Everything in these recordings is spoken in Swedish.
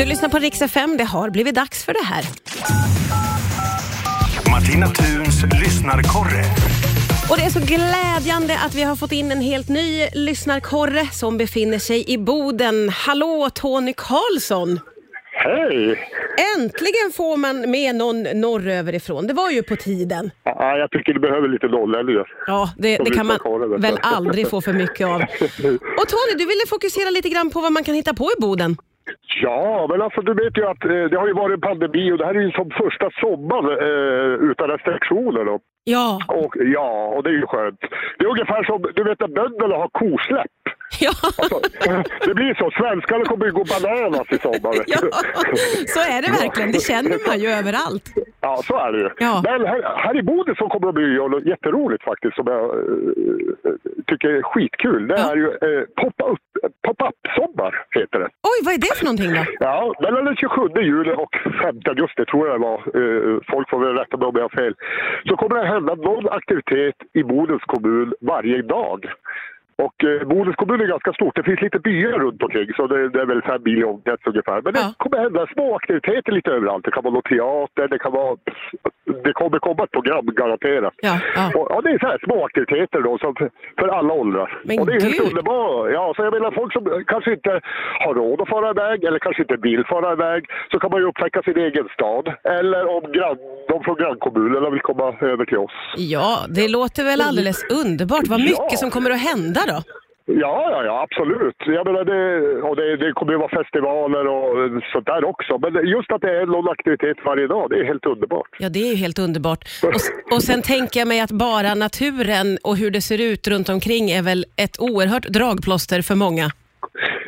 Du lyssnar på Rix FM, det har blivit dags för det här. Martina Thuns lyssnarkorre. Och det är så glädjande att vi har fått in en helt ny lyssnarkorre som befinner sig i Boden. Hallå Tony Karlsson! Hej! Äntligen får man med någon norröver ifrån. Det var ju på tiden. Ja, jag tycker du behöver lite dollar, Ja, det, det kan man lyssnarkorre, vet du. väl aldrig få för mycket av. Och Tony, du ville fokusera lite grann på vad man kan hitta på i Boden. Ja, men alltså du vet ju att eh, det har ju varit en pandemi och det här är ju som första sommaren eh, utan restriktioner. Då. Ja, Och, ja, och det är ju skönt. Det är ungefär som, du vet att bönderna har kosläpp. ja, Så, det blir så, svenskarna kommer ju gå bananas i sommar. vet ja, du. så är det verkligen. Det känner man ju överallt. Ja, så är det ju. Ja. Men här, här i Boden så kommer det bli något jätteroligt faktiskt som jag eh, tycker är skitkul. Det Ja. är ju eh, pop-up, pop-up-sommar heter det. Oj, vad är det för någonting då? Ja, mellan den 27 juli och 5 augusti tror jag det var. eh, Folk får väl rätta mig om jag har fel. Så kommer det hända någon aktivitet i Bodens kommun varje dag. Och eh, Bodens kommun är ganska stort. Det finns lite byar runt omkring så det, det är väl fem mil i omkrets ungefär. Men Ja. det kommer hända små aktiviteter lite överallt. Det kan vara någon teater, det kan vara... Det kommer komma ett program garanterat. Ja, ja. Och, ja, det är så här små aktiviteter då, som för, för alla åldrar. Men och det är gud. helt underbart. Ja, så jag menar folk som kanske inte har råd att fara iväg eller kanske inte vill fara iväg så kan man ju upptäcka sin egen stad. Eller om grann, de från grannkommunerna vill komma över till oss. Ja, det låter väl alldeles underbart. Vad mycket Ja. som kommer att hända då. Ja, ja, ja absolut. Jag menar det, och det, det kommer ju vara festivaler och sånt där också. Men just att det är någon aktivitet varje dag, det är helt underbart. Ja, det är ju helt underbart. Och, och sen tänker jag mig att bara naturen och hur det ser ut runt omkring är väl ett oerhört dragplåster för många.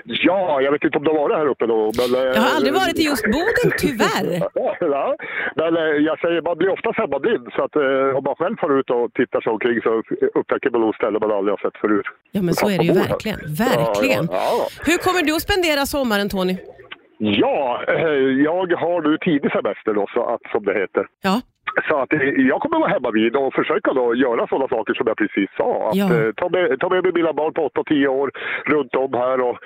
Ja, jag vet inte om du har varit här uppe då. Men, eh, Jag har aldrig varit i just Boden, tyvärr. Ja, men eh, jag säger, man blir oftast hemmablind. Så att eh, om man själv får ut och tittar sig omkring så upptäcker man nog ställen man aldrig har sett förut. Ja, men så är det ju Ja, ja. verkligen. Verkligen. Ja, ja, ja. Hur kommer du att spendera sommaren, Tony? Ja, eh, jag har nu tidig semester då, så att, som det heter. Ja, Så att eh, jag kommer vara hemma vid och försöka då göra sådana saker som jag precis sa. Att, Ja. eh, ta, med, ta med mig mina barn på 8 och 10 år runt om här och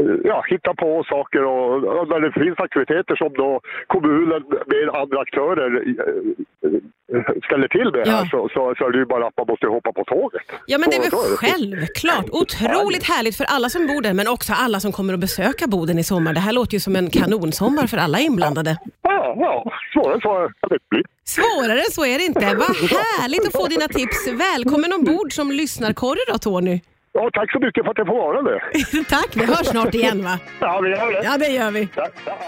eh, ja, hitta på saker och, och när det finns aktiviteter som då kommunen med andra aktörer eh, ställer till med här Ja. så, så, så är det ju bara att man måste hoppa på tåget. ja men det är Så- så väl det. självklart. Otroligt härligt för alla som bor där, men också alla som kommer att besöka Boden i sommar. Det här låter ju som en kanonsommar för alla inblandade. Ja, ja. svårare än så har det inte blivit. Svårare än så är det inte. Vad härligt att få dina tips. Välkommen ombord som lyssnarkorre då Tony. Ja, tack så mycket för att jag får vara det. Tack, vi hörs snart igen va? Ja, vi gör det. Ja det gör vi. Tack.